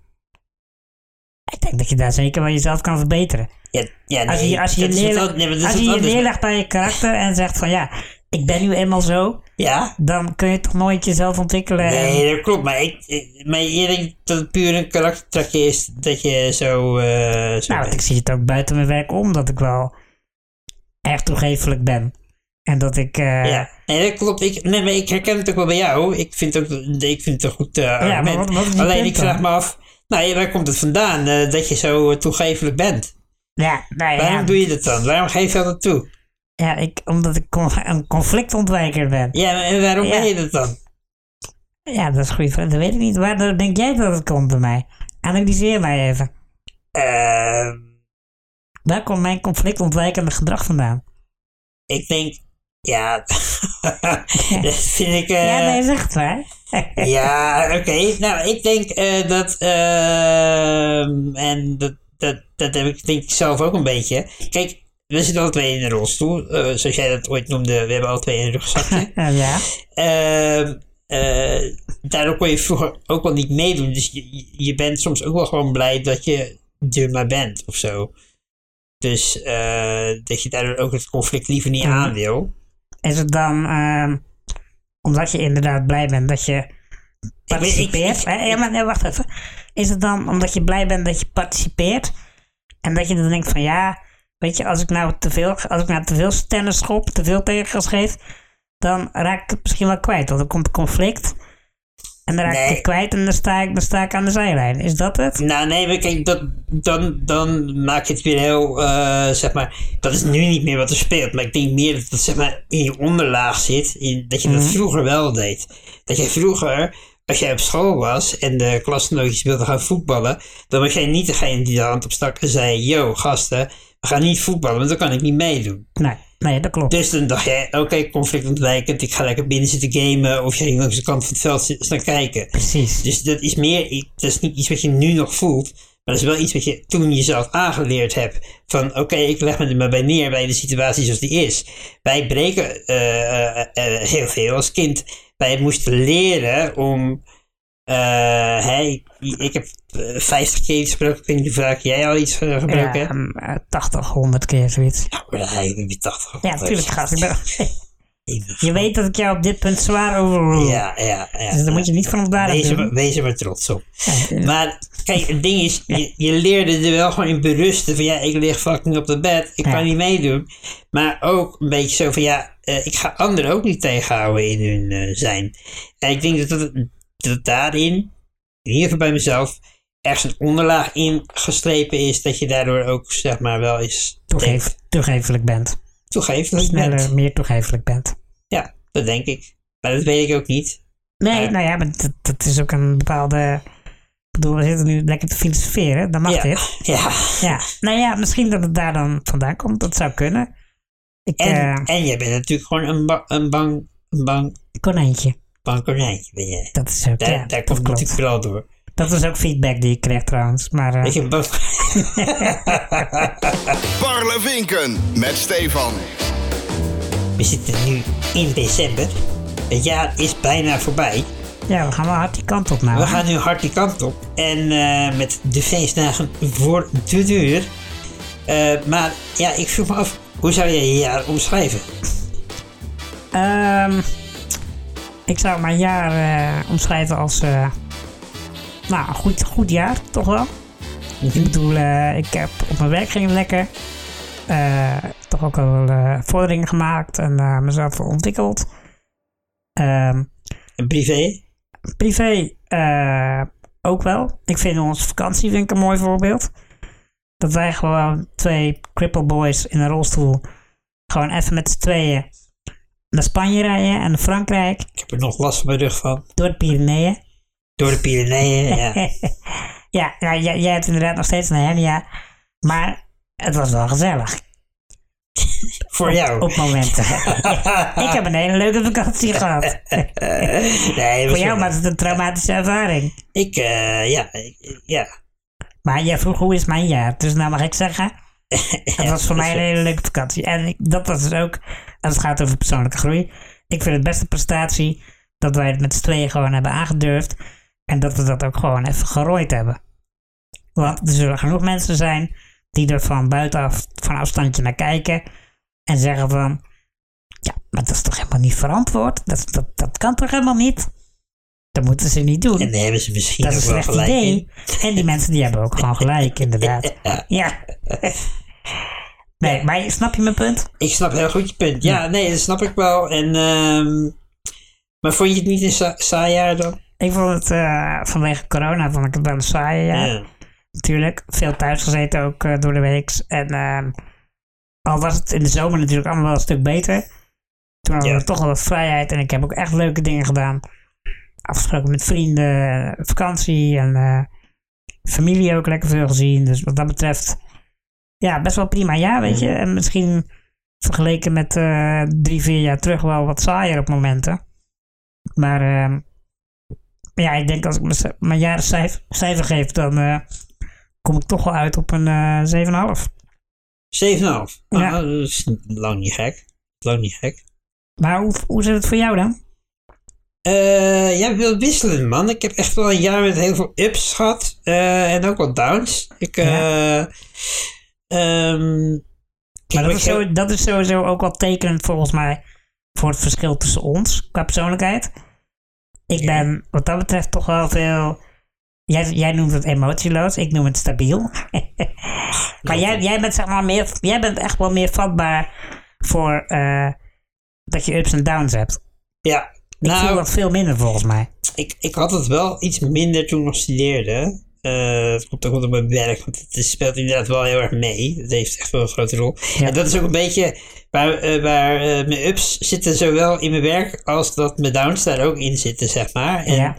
Ik denk dat je daar zeker wel jezelf kan verbeteren. Ja, ja Als nee, je als je, dat is wat neerlegt, an- nee, maar dat als is je, wat je anders. neerlegt bij je karakter en zegt van ja, ik ben nu eenmaal zo, Ja, dan kun je toch nooit jezelf ontwikkelen. en- nee, dat klopt. Maar, ik, ik- maar je denkt dat het puur een karaktertrekje is dat je zo... eh Nou, want zo bent. ik zie het ook buiten mijn werk om dat ik wel erg toegefelijk ben. En dat ik. eh, ja, nee, dat klopt. Ik, nee, maar ik herken het ook wel bij jou. Ik vind, ook, ik vind het een goed eh, maar argument. wat- wat is je Alleen punt ik vraag dan? me af... Nou, ja, waar komt het vandaan eh, dat je zo eh, toegevelijk bent? Ja, nou ja. Waarom doe je dat dan? Waarom geef je dat toe? ja ik, omdat ik con- een conflictontwijker ben. Ja, maar- en waarom Ja. ben je dat dan? Ja, dat is een goede vraag. Dat weet ik niet. Waar denk jij dat het komt bij mij? Analyseer mij even. Eh, Waar komt mijn conflictontwijkende gedrag vandaan? ik denk, ja, dat vind ik... eh, ja, nee, zeg het maar. Ja, oké. Nou, ik denk eh, dat. ehm, en dat, dat, dat heb ik denk ik zelf ook een beetje. Kijk, we zitten alle twee in een rolstoel. eh, zoals jij dat ooit noemde, we hebben alle twee een rugzakje. Eh, ja. Ehm, eh, daardoor kon je vroeger ook wel niet meedoen. Dus je, je bent soms ook wel gewoon blij dat je er maar bent of zo. Dus eh, dat je daardoor ook het conflict liever niet Mhm. aan wil. Is het dan ehm, omdat je inderdaad blij bent dat je participeert? ik- Eh, ja, maar nee, wacht even. Is het dan omdat je blij bent dat je participeert? En dat je dan denkt van ja, weet je, als ik nou te veel, als ik nou te veel tennis schop, te veel tegengas geef, dan raak ik het misschien wel kwijt. Want dan komt een conflict. En dan raak ik Nee. het kwijt en dan sta ik, dan sta ik aan de zijlijn. Is dat het? Nou, nee, maar kijk, dat, dan, dan maak je het weer heel, eh, zeg maar, dat is nu niet meer wat er speelt. Maar ik denk meer dat het, zeg maar, in je onderlaag zit, in, dat je dat vroeger wel deed. Dat je vroeger, als jij op school was en de klasgenootjes wilden gaan voetballen, dan was jij niet degene die de hand opstak en zei, yo, gasten, we gaan niet voetballen, want dan kan ik niet meedoen. Nee, nee dat klopt. Dus dan dacht jij, oké, conflict ontwijkend, ik ga lekker binnen zitten gamen, of je ging langs de kant van het veld zitten staan kijken. Precies. Dus dat is meer, dat is niet iets wat je nu nog voelt, maar dat is wel iets wat je toen jezelf aangeleerd hebt. Van oké, ik leg me er maar bij neer bij de situatie zoals die is. Wij breken eh, eh, eh, heel veel als kind. Wij moesten leren om. eh, hè, ik, ik heb eh, 50 keer iets gebroken, ik weet niet hoe vaak jij al iets eh, Ja, gebroken hebt. ehm, eh, 80, 100 keer zoiets. Maar hij heeft weer 80 Ja, gebroken. tuurlijk gast. Ik ben... Je weet dat ik jou op dit punt zwaar overrule. Ja, ja, ja. Dus daar moet je niet van elkaar wees, er, doen. maar- wees er maar trots op. Ja. Maar kijk, het ding is, je, je leerde er wel gewoon in berusten van ja, ik lig fucking op de bed, ik Ja. kan niet meedoen. Maar ook een beetje zo van ja, eh, ik ga anderen ook niet tegenhouden in hun eh, zijn. En ik denk dat, dat, dat daarin, in ieder geval bij mezelf, ergens een onderlaag in gestrepen is dat je daardoor ook zeg maar wel eens denkt, Toegeef, toegeeflijk bent. toegeeft dat je Sneller, bent. meer toegeeflijk bent. Ja, dat denk ik. Maar dat weet ik ook niet. Nee, Ja. nou ja, maar dat, dat is ook een bepaalde... Ik bedoel, we zitten nu lekker te filosoferen. Dan mag Ja. dit. Ja. Ja. Nou ja, misschien dat het daar dan vandaan komt. Dat zou kunnen. Ik, En, eh, en jij bent natuurlijk gewoon een, ba- een bang, een bang, konijntje. bang konijntje ben jij. Dat is ook, Daar, ja, daar dat komt klopt. natuurlijk vooral door. Dat was ook feedback die ik kreeg trouwens. Maar eh, Ik heb bang. Parlevinken met Stefan. We zitten nu in december. Het jaar is bijna voorbij. ja, we gaan wel hard die kant op nou. We hè? gaan nu hard die kant op. En eh, met de feestdagen voor de deur. Eh, maar ja, ik vroeg me af, hoe zou jij je jaar omschrijven? Ehm, ik zou mijn jaar eh, omschrijven als eh, nou, een goed, goed jaar, toch wel. Ik bedoel, eh, ik heb op mijn werk ging het lekker. Eh, toch ook al eh, vorderingen gemaakt en eh, mezelf ontwikkeld. Ehm, Een privé? privé eh, ook wel. Ik vind onze vakantie vind ik een mooi voorbeeld. Dat wij gewoon twee cripple boys in een rolstoel gewoon even met z'n tweeën naar Spanje rijden en naar Frankrijk Ik heb er nog last van mijn rug van. door de Pyreneeën. Door de Pyreneeën, ja. ja, nou, jij, jij hebt inderdaad nog steeds een hernia, maar het was wel gezellig Voor jou. op momenten. Ik heb een hele leuke vakantie gehad. Nee, Voor jou was het een traumatische ervaring. Ik, eh, ja, ik- ja. Maar jij vroeg hoe is mijn jaar, dus nou mag ik zeggen... Het was voor mij een hele leuke vakantie. En ik- dat was dus ook, als het gaat over persoonlijke groei. Ik vind het beste prestatie dat wij het met z'n tweeën gewoon hebben aangedurfd. En dat we dat ook gewoon even gerooid hebben. Want er zullen genoeg mensen zijn die er van buitenaf, van afstandje naar kijken. En zeggen van, ja, maar dat is toch helemaal niet verantwoord? Dat, dat, dat kan toch helemaal niet? Dat moeten ze niet doen. En daar hebben ze misschien Dat is een ook wel slecht gelijk idee. in. En die mensen die hebben ook gewoon gelijk, inderdaad. Ja. Ja. Nee, maar snap je mijn punt? Ik snap heel goed je punt. Ja, nee, dat snap ik wel. En, ehm, maar vond je het niet een sa- saai jaar dan? Ik vond het eh, vanwege corona vond ik het wel een saaie jaar. Ja. Natuurlijk. Veel thuis gezeten ook eh, door de week. En ehm, al was het in de zomer natuurlijk allemaal wel een stuk beter. Toen hadden Ja. we toch wel wat vrijheid. En ik heb ook echt leuke dingen gedaan. Afgesproken met vrienden, vakantie en eh, familie ook lekker veel gezien. Dus wat dat betreft, ja, best wel prima jaar, weet je. En misschien vergeleken met eh, drie, vier jaar terug wel wat saaier op momenten. Maar ehm, ja, ik denk als ik mez- mijn jaren cijf- cijfer geef, dan eh, kom ik toch wel uit op een eh 7,5. 7,5. Nou, Ja. dat is lang niet gek. Lang niet gek. Maar hoe, hoe zit het voor jou dan? Eh, jij wil wisselen, man. Ik heb echt wel een jaar met heel veel ups gehad. eh, en ook wat downs. Ik, eh ehm, ik Maar dat, ben is heel- zo, dat is sowieso ook wel tekenend volgens mij voor het verschil tussen ons qua persoonlijkheid. Ik Ja. ben wat dat betreft toch wel veel. Jij, jij noemt het emotieloos, ik noem het stabiel. maar jij, jij bent zeg maar meer, jij bent echt wel meer vatbaar voor eh, dat je ups en downs hebt. Ja. Ik voel Nou, dat veel minder volgens mij. ik, ik had het wel iets minder toen ik nog studeerde. Eh dat komt ook omdat mijn werk, want het is- speelt inderdaad wel heel erg mee. Het heeft echt wel een grote rol. Ja. En dat is ook een beetje waar, eh, waar eh, mijn ups zitten, zowel in mijn werk als dat mijn downs daar ook in zitten, zeg maar. En ja.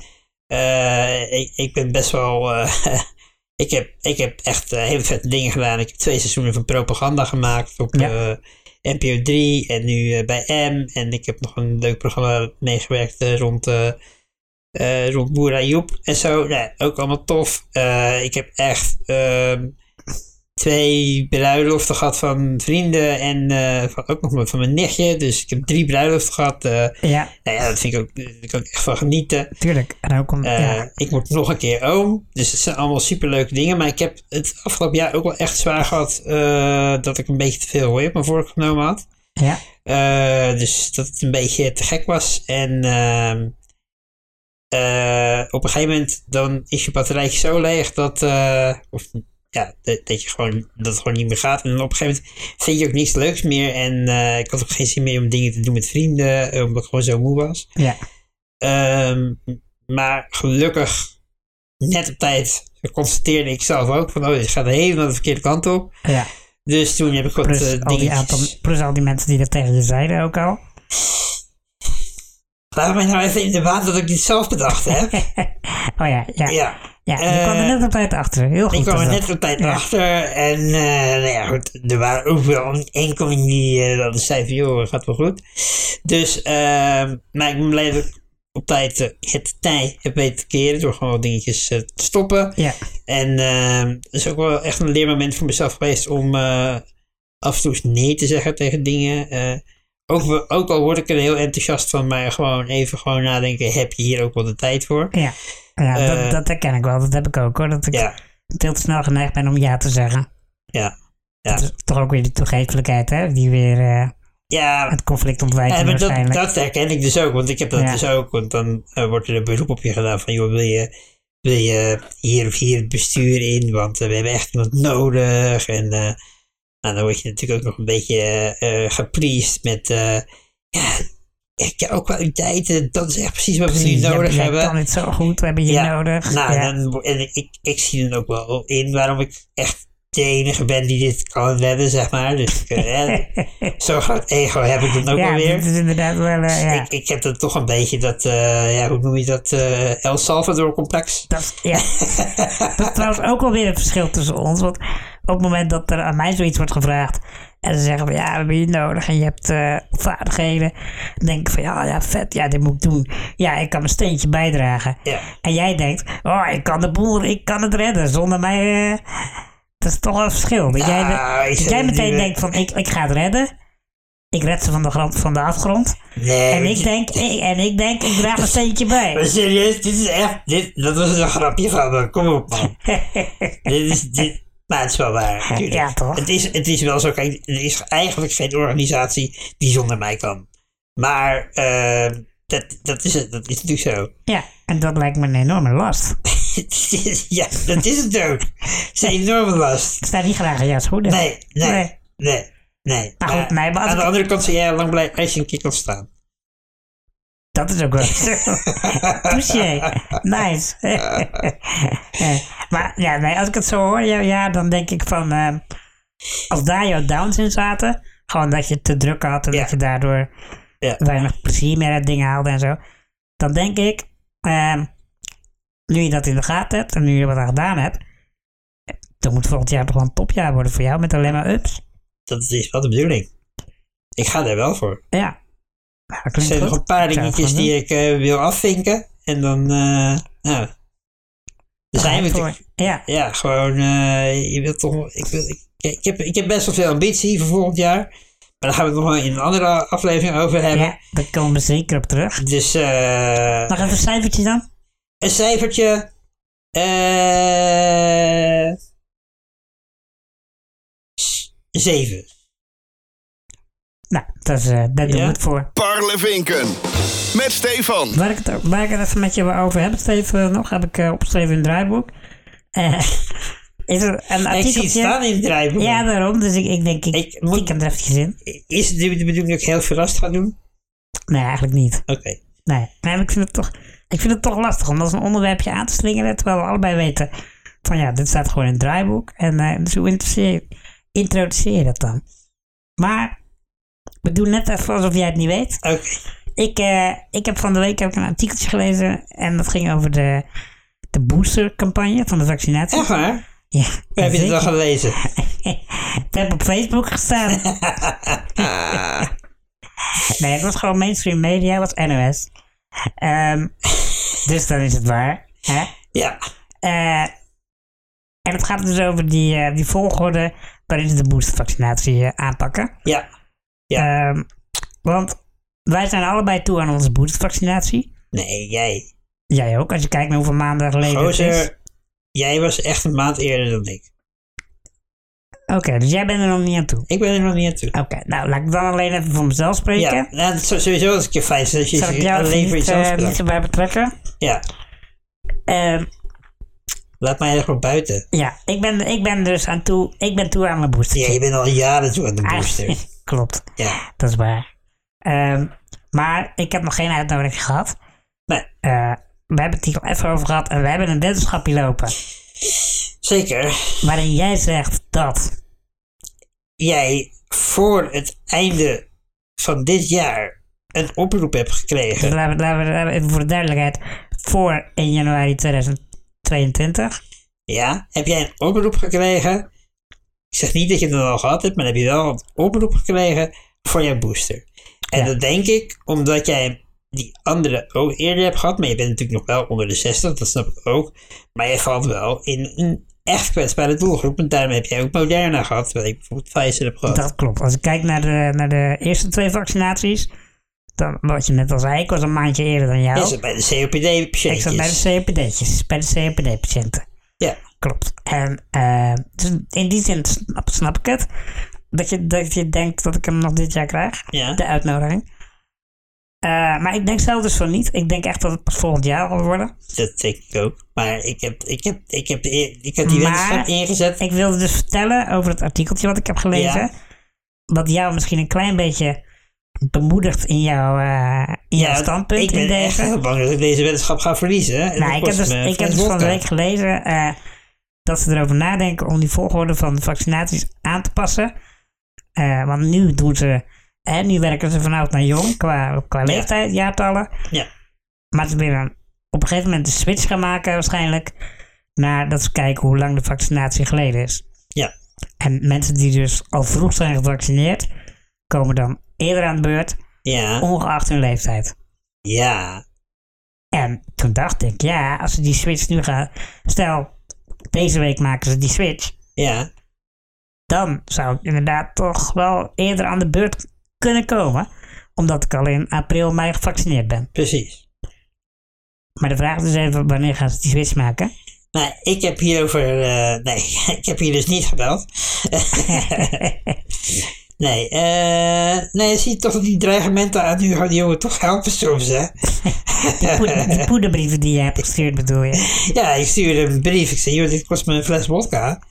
eh, ik, ik ben best wel. eh, ik, heb, ik heb echt eh, hele vette dingen gedaan. Ik heb twee seizoenen van propaganda gemaakt op Ja. eh, NPO 3 en nu eh, bij M. En ik heb nog een leuk programma meegewerkt eh, rond, eh eh, rond Boer Ayoub en zo. Nou, ook allemaal tof. Eh, ik heb echt ehm, twee bruiloften gehad van vrienden en eh, van, ook nog van mijn nichtje. Dus ik heb drie bruiloften gehad. eh ja, nou ja, dat vind ik ook, daar kan ik echt van genieten. tuurlijk. En ook om, Eh, ja. Ik word nog een keer oom. Dus het zijn allemaal superleuke dingen. Maar ik heb het afgelopen jaar ook wel echt zwaar gehad. eh, dat ik een beetje te veel hooi op me voorgenomen had. ja. Eh, dus dat het een beetje te gek was. En ehm, eh, op een gegeven moment dan is je batterijtje zo leeg dat, eh, of, ja, dat, dat je gewoon, dat het gewoon niet meer gaat. En dan op een gegeven moment vind je ook niks leuks meer. En eh, ik had ook geen zin meer om dingen te doen met vrienden. eh, Omdat ik gewoon zo moe was. Ja. Ehm, maar gelukkig, net op tijd, constateerde ik zelf ook van, oh, dit gaat helemaal de verkeerde kant op. ja. Dus toen heb ik wat Plus, eh, al die aantal, dingetjes... plus al die mensen die dat tegen je zeiden ook al. Laat mij nou even in de waan dat ik dit zelf bedacht heb. Oh ja, ja. ja. ja, je kwam er eh, net op tijd achter. Heel goed. ik kwam is er dat. net op tijd Ja. achter. En eh, nou ja, goed, er waren ook wel een enkeling die eh, dat zei van, joh, gaat wel goed. Dus, ehm maar ik ben blij dat ik op tijd eh, het tij heb weten te keren door gewoon wat dingetjes eh, te stoppen. Ja, En ehm het is ook wel echt een leermoment voor mezelf geweest om eh, af en toe eens nee te zeggen tegen dingen. Eh, ook, wel- ook al word ik er heel enthousiast van, maar gewoon even gewoon nadenken, heb je hier ook wel de tijd voor? ja. ja Eh, dat, dat herken ik wel. Dat heb ik ook hoor. Dat ik Ja, veel te snel geneigd ben om ja te zeggen. ja. Dat is toch ook weer die toegeeflijkheid hè. Die weer eh, Ja, het conflict ontwijkt ja maar dat, waarschijnlijk. dat herken ik dus ook, want ik heb dat Ja. dus ook. Want dan eh, wordt er een beroep op je gedaan van, joh, wil je, wil je hier of hier het bestuur in? Want eh, we hebben echt iemand nodig. En eh, nou, dan word je natuurlijk ook nog een beetje eh, eh, gepriest met, eh, ja, heb je ook kwaliteiten? Dat is echt precies wat we Precies, nu jij- nodig jij hebben. kan dit zo goed. We hebben je Ja, nodig. Nou, ja. dan, en ik, ik zie dan ook wel in waarom ik echt de enige ben die dit kan redden, zeg maar. Dus ik, eh, zo'n groot ego heb ik dan ook ja, alweer. dit is inderdaad wel... eh, ja. Ik, ik heb dan toch een beetje dat, eh, ja, hoe noem je dat, eh, El Salvador-complex. Dat, is- ja. dat is trouwens ook alweer een verschil tussen ons. Want op het moment dat er aan mij zoiets wordt gevraagd. En ze zeggen van ja, we hebben je nodig en je hebt eh, vaardigheden. Dan denk ik van ja, ja, vet, ja, dit moet ik doen. Ja, ik kan mijn steentje bijdragen. Ja. En jij denkt, oh, ik kan de boel, ik kan het redden. Zonder mij, eh, dat is toch wel een verschil. Dat jij, de- Ah, dat ik zou jij het meteen niet- denkt van ik, ik ga het redden. Ik red ze van de, grond, van de afgrond. Nee, En maar ik dit- denk, ik, en ik denk, ik draag een steentje maar bij. serieus, dit is echt, dit, dat was een grapje van me, kom op man. dit is, dit, maar het is wel waar, natuurlijk. Ja, toch? Het is, het is wel zo, kijk, er is eigenlijk geen organisatie die zonder mij kan. Maar, eh, dat, dat, is, het, dat is natuurlijk zo. Ja, en dat lijkt me een enorme last. ja, dat is het ook. Het is een enorme last. Ik sta niet graag in jouw schoenen. Nee, nee, nee, Nee. nee. Maar goed, nee, maar als aan de ik- andere kant zou jij lang blij als je een keer kan staan. Dat is ook wel zo. Touché. Nice. Eh, maar ja, nee, als ik het zo hoor, ja, ja dan denk ik van... eh, als daar jouw downs in zaten... Gewoon dat je het te druk had en Ja. dat je daardoor Ja. weinig plezier meer uit dingen haalde en zo. Dan denk ik... ehm, nu je dat in de gaten hebt en nu je wat aan gedaan hebt... Dan moet volgend jaar toch wel een topjaar worden voor jou met alleen maar ups. Dat is wel de bedoeling. Ik ga daar wel voor. Ja. Nou, dat Er klinkt zijn goed. nog een paar Ik zou het dingetjes gewoon die ik eh, wil afvinken. En dan, eh nou, daar doen. eh, zijn we Voor- natuurlijk. Ja, Ja, gewoon, eh, je wilt toch, ik, wil, ik, ik, heb, ik heb best wel veel ambitie voor volgend jaar. Maar daar gaan we het nog wel in een andere aflevering over hebben. ja, daar komen we zeker op terug. Dus eh, Nog even een cijfertje dan? een cijfertje. eh, s- zeven. Nou, dat is, eh, daar doen Ja. we het voor. Parlevinken. Met Stefan. Waar ik, het, ook- waar ik het even met je over heb, Steven, nog heb ik eh, opgeschreven in het draaiboek. Eh, Ah, is er een ik zie het artikeltje? staan in het draaiboek. Ja, daarom. Dus ik, ik denk, ik, Ik ik moet- moet... hem er eventjes in. Is het de bedoeling dat ik heel verrast ga doen? Nee, eigenlijk niet. Oké. Nee, nee maar ik, vind het toch, ik vind het toch lastig om dat als een onderwerpje aan te slingeren. Terwijl we allebei weten van ja, dit staat gewoon in het draaiboek. En eh, dus hoe introduceer, introduceer je dat dan? Maar we doen net even alsof jij het niet weet. Oké. Ik, eh, ik heb van de week heb ik een artikeltje gelezen en dat ging over de, de boostercampagne van de vaccinatie. Echt waar? Ja, Waar Oh. heb je het zeker. al gelezen? Het heb op Facebook gestaan. nee, het was gewoon mainstream media, het was NOS. Ehm, dus dan is het waar. Hè? Ja. Eh, en het gaat dus over die, eh, die volgorde waarin ze de boostervaccinatie eh, aanpakken. Ja. Ehm, want wij zijn allebei toe aan onze boostervaccinatie. Nee, jij. Jij ook, als je kijkt naar hoeveel maanden geleden het is. Gozer, jij was echt een maand eerder dan ik. Oké, dus jij bent er nog niet aan toe. Ik ben er nog niet aan toe. Oké, nou laat ik dan alleen even voor mezelf spreken. Ja, nou, dat is sowieso wel eens een keer fijn zijn als je Zal ik jou alleen even voor niet, jezelf eh, niet bedankt. erbij betrekken? Ja, Ehm, laat mij er gewoon buiten. ja, ik ben, ik ben dus aan toe, ik ben toe aan mijn booster. Ja, je bent al jaren toe Ah. aan de booster. Klopt, Ja, dat is waar. Ehm, maar ik heb nog geen uitnodiging gehad. Nee. Eh, we hebben het hier al even over gehad en we hebben een wetenschapje lopen. zeker. Waarin jij zegt dat. Jij voor het einde van dit jaar een oproep hebt Dus gekregen. laten we, laten we- laten we even voor de duidelijkheid. Voor 1 januari 2022. Ja, heb jij een oproep gekregen? Ik zeg niet dat je dat al gehad hebt, maar heb je wel een oproep gekregen voor jouw booster. En Ja. dat denk ik omdat jij die andere ook eerder hebt gehad, maar je bent natuurlijk nog wel onder de 60, dat snap ik ook. Maar je valt wel in een echt kwetsbare doelgroep en daarom heb jij ook Moderna gehad, terwijl ik bijvoorbeeld Pfizer heb gehad. Dat klopt. Als ik kijk naar de, naar de eerste twee vaccinaties. Dan, wat je net al zei, ik was een maandje eerder dan jou. Is het bij de COPD-patiëntjes? Ik zat bij de COPD'tjes, bij de COPD-patiënten. Ja, Klopt. En eh, dus in die zin snap, snap ik het. Dat je, dat je denkt dat ik hem nog dit jaar krijg, Ja. de uitnodiging. Eh, maar ik denk zelf dus van niet. Ik denk echt dat het pas volgend jaar zal worden. dat denk ik ook. Maar ik heb, ik heb, ik heb, de- ik heb die Maar- wetenschap ingezet. Ik wilde dus vertellen over het artikeltje wat ik heb gelezen. Ja. Wat jou misschien een klein beetje bemoedigt in jouw, eh, in jouw standpunt ik ben in deze. echt heel bang dat ik deze weddenschap ga verliezen. hè. Nou, En dat ik heb kost dus, me een ik heb fles dus van de vodka. week gelezen eh, dat ze erover nadenken om die volgorde van de vaccinaties aan te passen. Eh, want nu doen ze, hè, nu werken ze vanuit naar jong qua, qua leeftijd, jaartallen. Ja. Maar ze willen op een gegeven moment de switch gaan maken waarschijnlijk naar dat ze kijken hoe lang de vaccinatie geleden is. Ja. En mensen die dus al vroeg zijn gevaccineerd, komen dan eerder aan de beurt, Ja, ongeacht hun leeftijd. ja, En toen dacht ik, ja, als ze die switch nu gaan. Stel, deze week maken ze die switch. ja. Dan zou ik inderdaad toch wel eerder aan de beurt kunnen komen. Omdat ik al in april, mei gevaccineerd ben. Precies. Maar de vraag is dus even, wanneer gaan ze die switch maken? Nou, ik heb hierover. eh nee, ik heb hier dus niet gebeld. nee, eh nee, je ziet toch die dreigementen aan die die jongen toch helpen soms, hè? Die, poed- die poederbrieven die je hebt gestuurd bedoel je? Ja, ik stuurde hem een brief. Ik zei: Joh, dit kost me een fles vodka.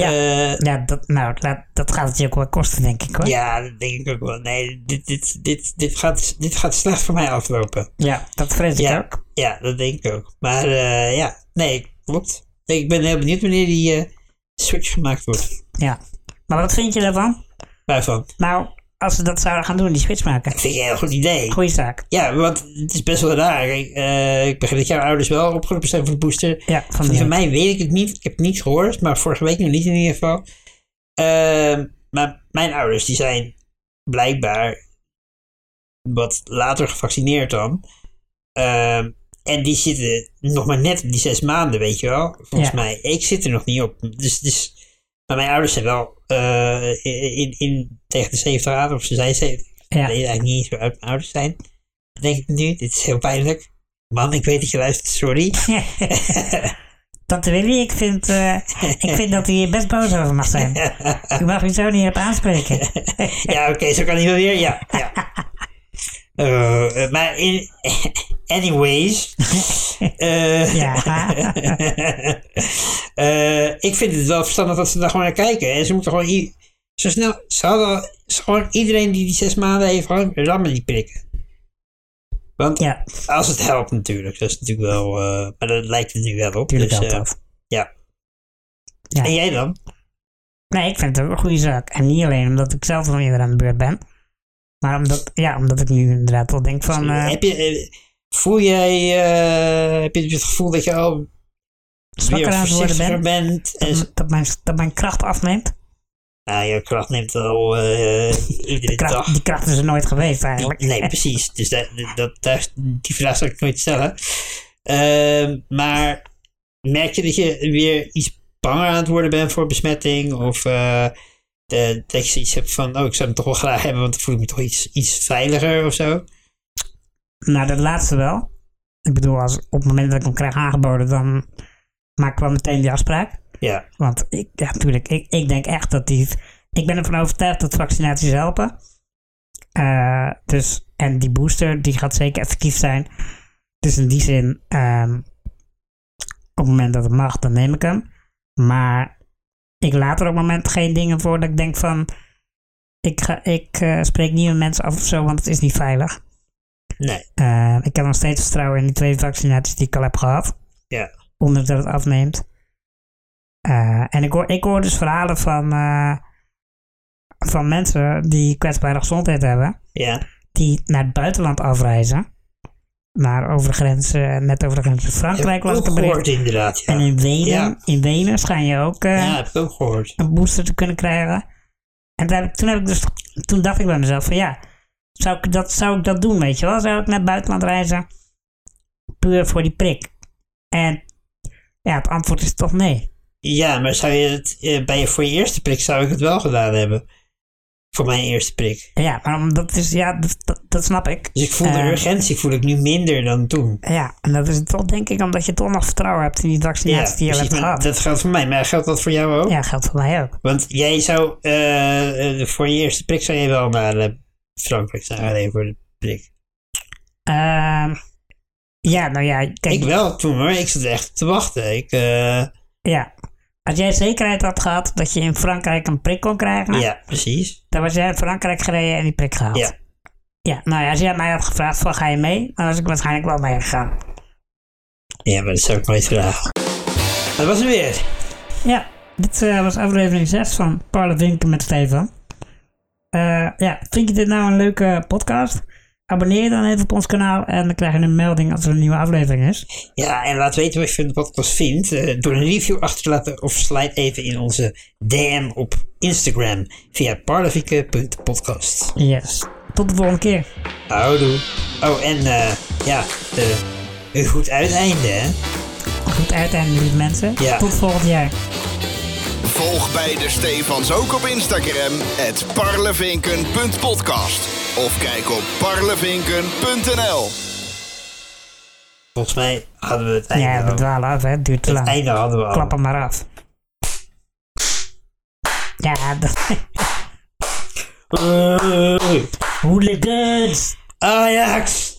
Ja. Eh, Ja, dat, nou, laat- dat gaat het je ook wel kosten, denk ik hoor. ja, dat denk ik ook wel. Nee, dit, dit, dit, dit, gaat, dit gaat slecht voor mij aflopen. Ja, dat vrees ik Ja, ook. ja, dat denk ik ook. Maar eh, ja, nee, klopt. Nee, ik ben heel benieuwd wanneer die eh, switch gemaakt wordt. Ja. Maar wat vind je daarvan? Waarvan? Nou, als ze dat zouden gaan doen, die switch maken. Dat vind ik een heel goed idee. Goeie zaak. Ja, want het is best wel raar. Kijk, eh, ik begrijp dat jouw ouders wel opgeroepen zijn voor de booster. Ja, van Van die. mij weet ik het niet. Ik heb het niet gehoord, maar vorige week nog niet in ieder geval. Ehm, maar mijn ouders die zijn blijkbaar wat later gevaccineerd dan. Ehm, en die zitten nog maar net op die zes maanden, weet je wel. Volgens Ja. mij. Ik zit er nog niet op. Dus, dus, maar mijn ouders zijn wel eh, in, in, tegen de 70 graden, of ze zijn 70. Ja. Ik weet eigenlijk niet eens hoe oud mijn ouders zijn. Dat denk ik nu. Dit is heel pijnlijk. Man, ik weet dat je luistert, sorry. Tante Willy, ik vind, eh, ik vind dat hij hier best boos over mag zijn. Ik mag u zo niet op aanspreken. Ja, oké, zo kan hij wel weer. Ja, ja. Eh, eh, maar in, anyways. Eh, Ja. eh, ik vind het wel verstandig dat ze daar gewoon naar kijken. En ze moeten gewoon i- zo snel. Ze hadden al- ze- gewoon iedereen die die zes maanden heeft, gewoon rammen die prikken. Want Ja, als het helpt natuurlijk, dat is natuurlijk wel. eh, maar dat lijkt het nu wel op. natuurlijk dus, helpt eh, dat. ja. Ja. En jij dan? Nee, ik vind het ook een goede zaak. En niet alleen omdat ik zelf nog eerder aan de beurt ben. Maar omdat, ja, omdat ik nu inderdaad al denk van... eh, heb je, eh, voel jij, eh, heb je het gevoel dat je al zwakker weer aan het worden Mm. voorzichtiger ben. bent. En s- Dat mijn, dat mijn kracht afneemt. nou, je kracht neemt wel eh, iedere Die kracht, dag. die kracht is er nooit geweest eigenlijk. Nee, precies. Dus dat, dat, daar- die vraag zal ik nooit stellen. Ehm, maar merk je dat je weer iets banger aan het worden bent voor besmetting? Of eh, de- dat je iets hebt van, oh, ik zou hem toch wel graag hebben, want dan voel ik me toch iets, iets veiliger of zo? Nou, dat laatste wel. Ik bedoel, als, op het moment dat ik hem krijg aangeboden, dan maak ik wel meteen die afspraak. Ja, Want ik, ja, natuurlijk, ik, ik denk echt dat die. Ik ben ervan overtuigd dat vaccinaties helpen. Eh, dus, en die booster, die gaat zeker effectief zijn. Dus in die zin, ehm, op het moment dat het mag, dan neem ik hem. Maar ik laat er op het moment geen dingen voor dat ik denk van. Ik, ga, ik eh, spreek niet met mensen af of zo, want het is niet veilig. nee, Eh, ik heb nog steeds vertrouwen in die twee vaccinaties die ik al heb gehad. Ja. Ondanks dat het afneemt. Eh, en ik hoor, ik hoor dus verhalen van, eh, van mensen die kwetsbare gezondheid hebben. ja, Die naar het buitenland afreizen. Naar over de grenzen, net over de grenzen Frankrijk heb las ik ook een gehoord bericht. inderdaad. Ja. En in Wenen, Ja. in Wenen schijn je ook eh, ja, heb ik ook gehoord. een booster te kunnen krijgen. En daar heb ik- toen, heb ik dus, toen dacht ik bij mezelf van ja, zou ik, dat, zou ik dat doen, weet je wel? Zou ik naar het buitenland reizen puur voor die prik? En ja, het antwoord is toch nee. Ja, maar zou je het, eh, bij je, voor je eerste prik zou ik het wel gedaan hebben. Voor mijn eerste prik. Ja, maar omdat is, ja, dat, dat, dat snap ik. Dus ik voel de Eh, urgentie voel ik nu minder dan toen. Ja, en dat is toch denk ik omdat je toch nog vertrouwen hebt in die vaccinaties die je precies, hebt maar gehad. dat geldt voor mij, maar geldt dat voor jou ook? Ja, geldt voor mij ook. Want jij zou, eh, eh, voor je eerste prik zou je wel naar eh, Frankrijk zijn gereden voor de prik. Ehm, ja, nou ja, kijk, Ik wel toen hoor, ik zat echt te wachten. Ik, eh, ja. Als jij zekerheid had gehad dat je in Frankrijk een prik kon krijgen, ja, precies. Dan was jij in Frankrijk gereden en die prik gehaald. Ja. Ja, nou ja, als jij mij had gevraagd van ga je mee, dan was ik waarschijnlijk wel meegegaan. Ja, maar dat zou ik nooit vragen. Dat was het weer. Ja, dit eh, was aflevering 6 van Parle Winken met Stefan. Eh, ja, vind je dit nou een leuke podcast? Abonneer je dan even op ons kanaal en dan krijg je een melding als er een nieuwe aflevering is. Ja, en laat weten wat je van de podcast vindt eh, door een review achter te laten of slide even in onze DM op Instagram via parlevieke.podcast. Yes. Tot de volgende keer. Houdoe. Oh, en eh, ja, eh, een goed uiteinde, hè? Goed uiteinde, lieve mensen. Ja. Tot volgend jaar. Volg beide Stefans ook op Instagram, het parlevinken.podcast. Of kijk op parlevinken.nl. Volgens mij hadden we het einde Ja, we al. dwalen af, hè. Het duurt te Het lang. einde hadden we al. Klap hem maar af. Ja, dat... Oei. Hooligans! Ajax!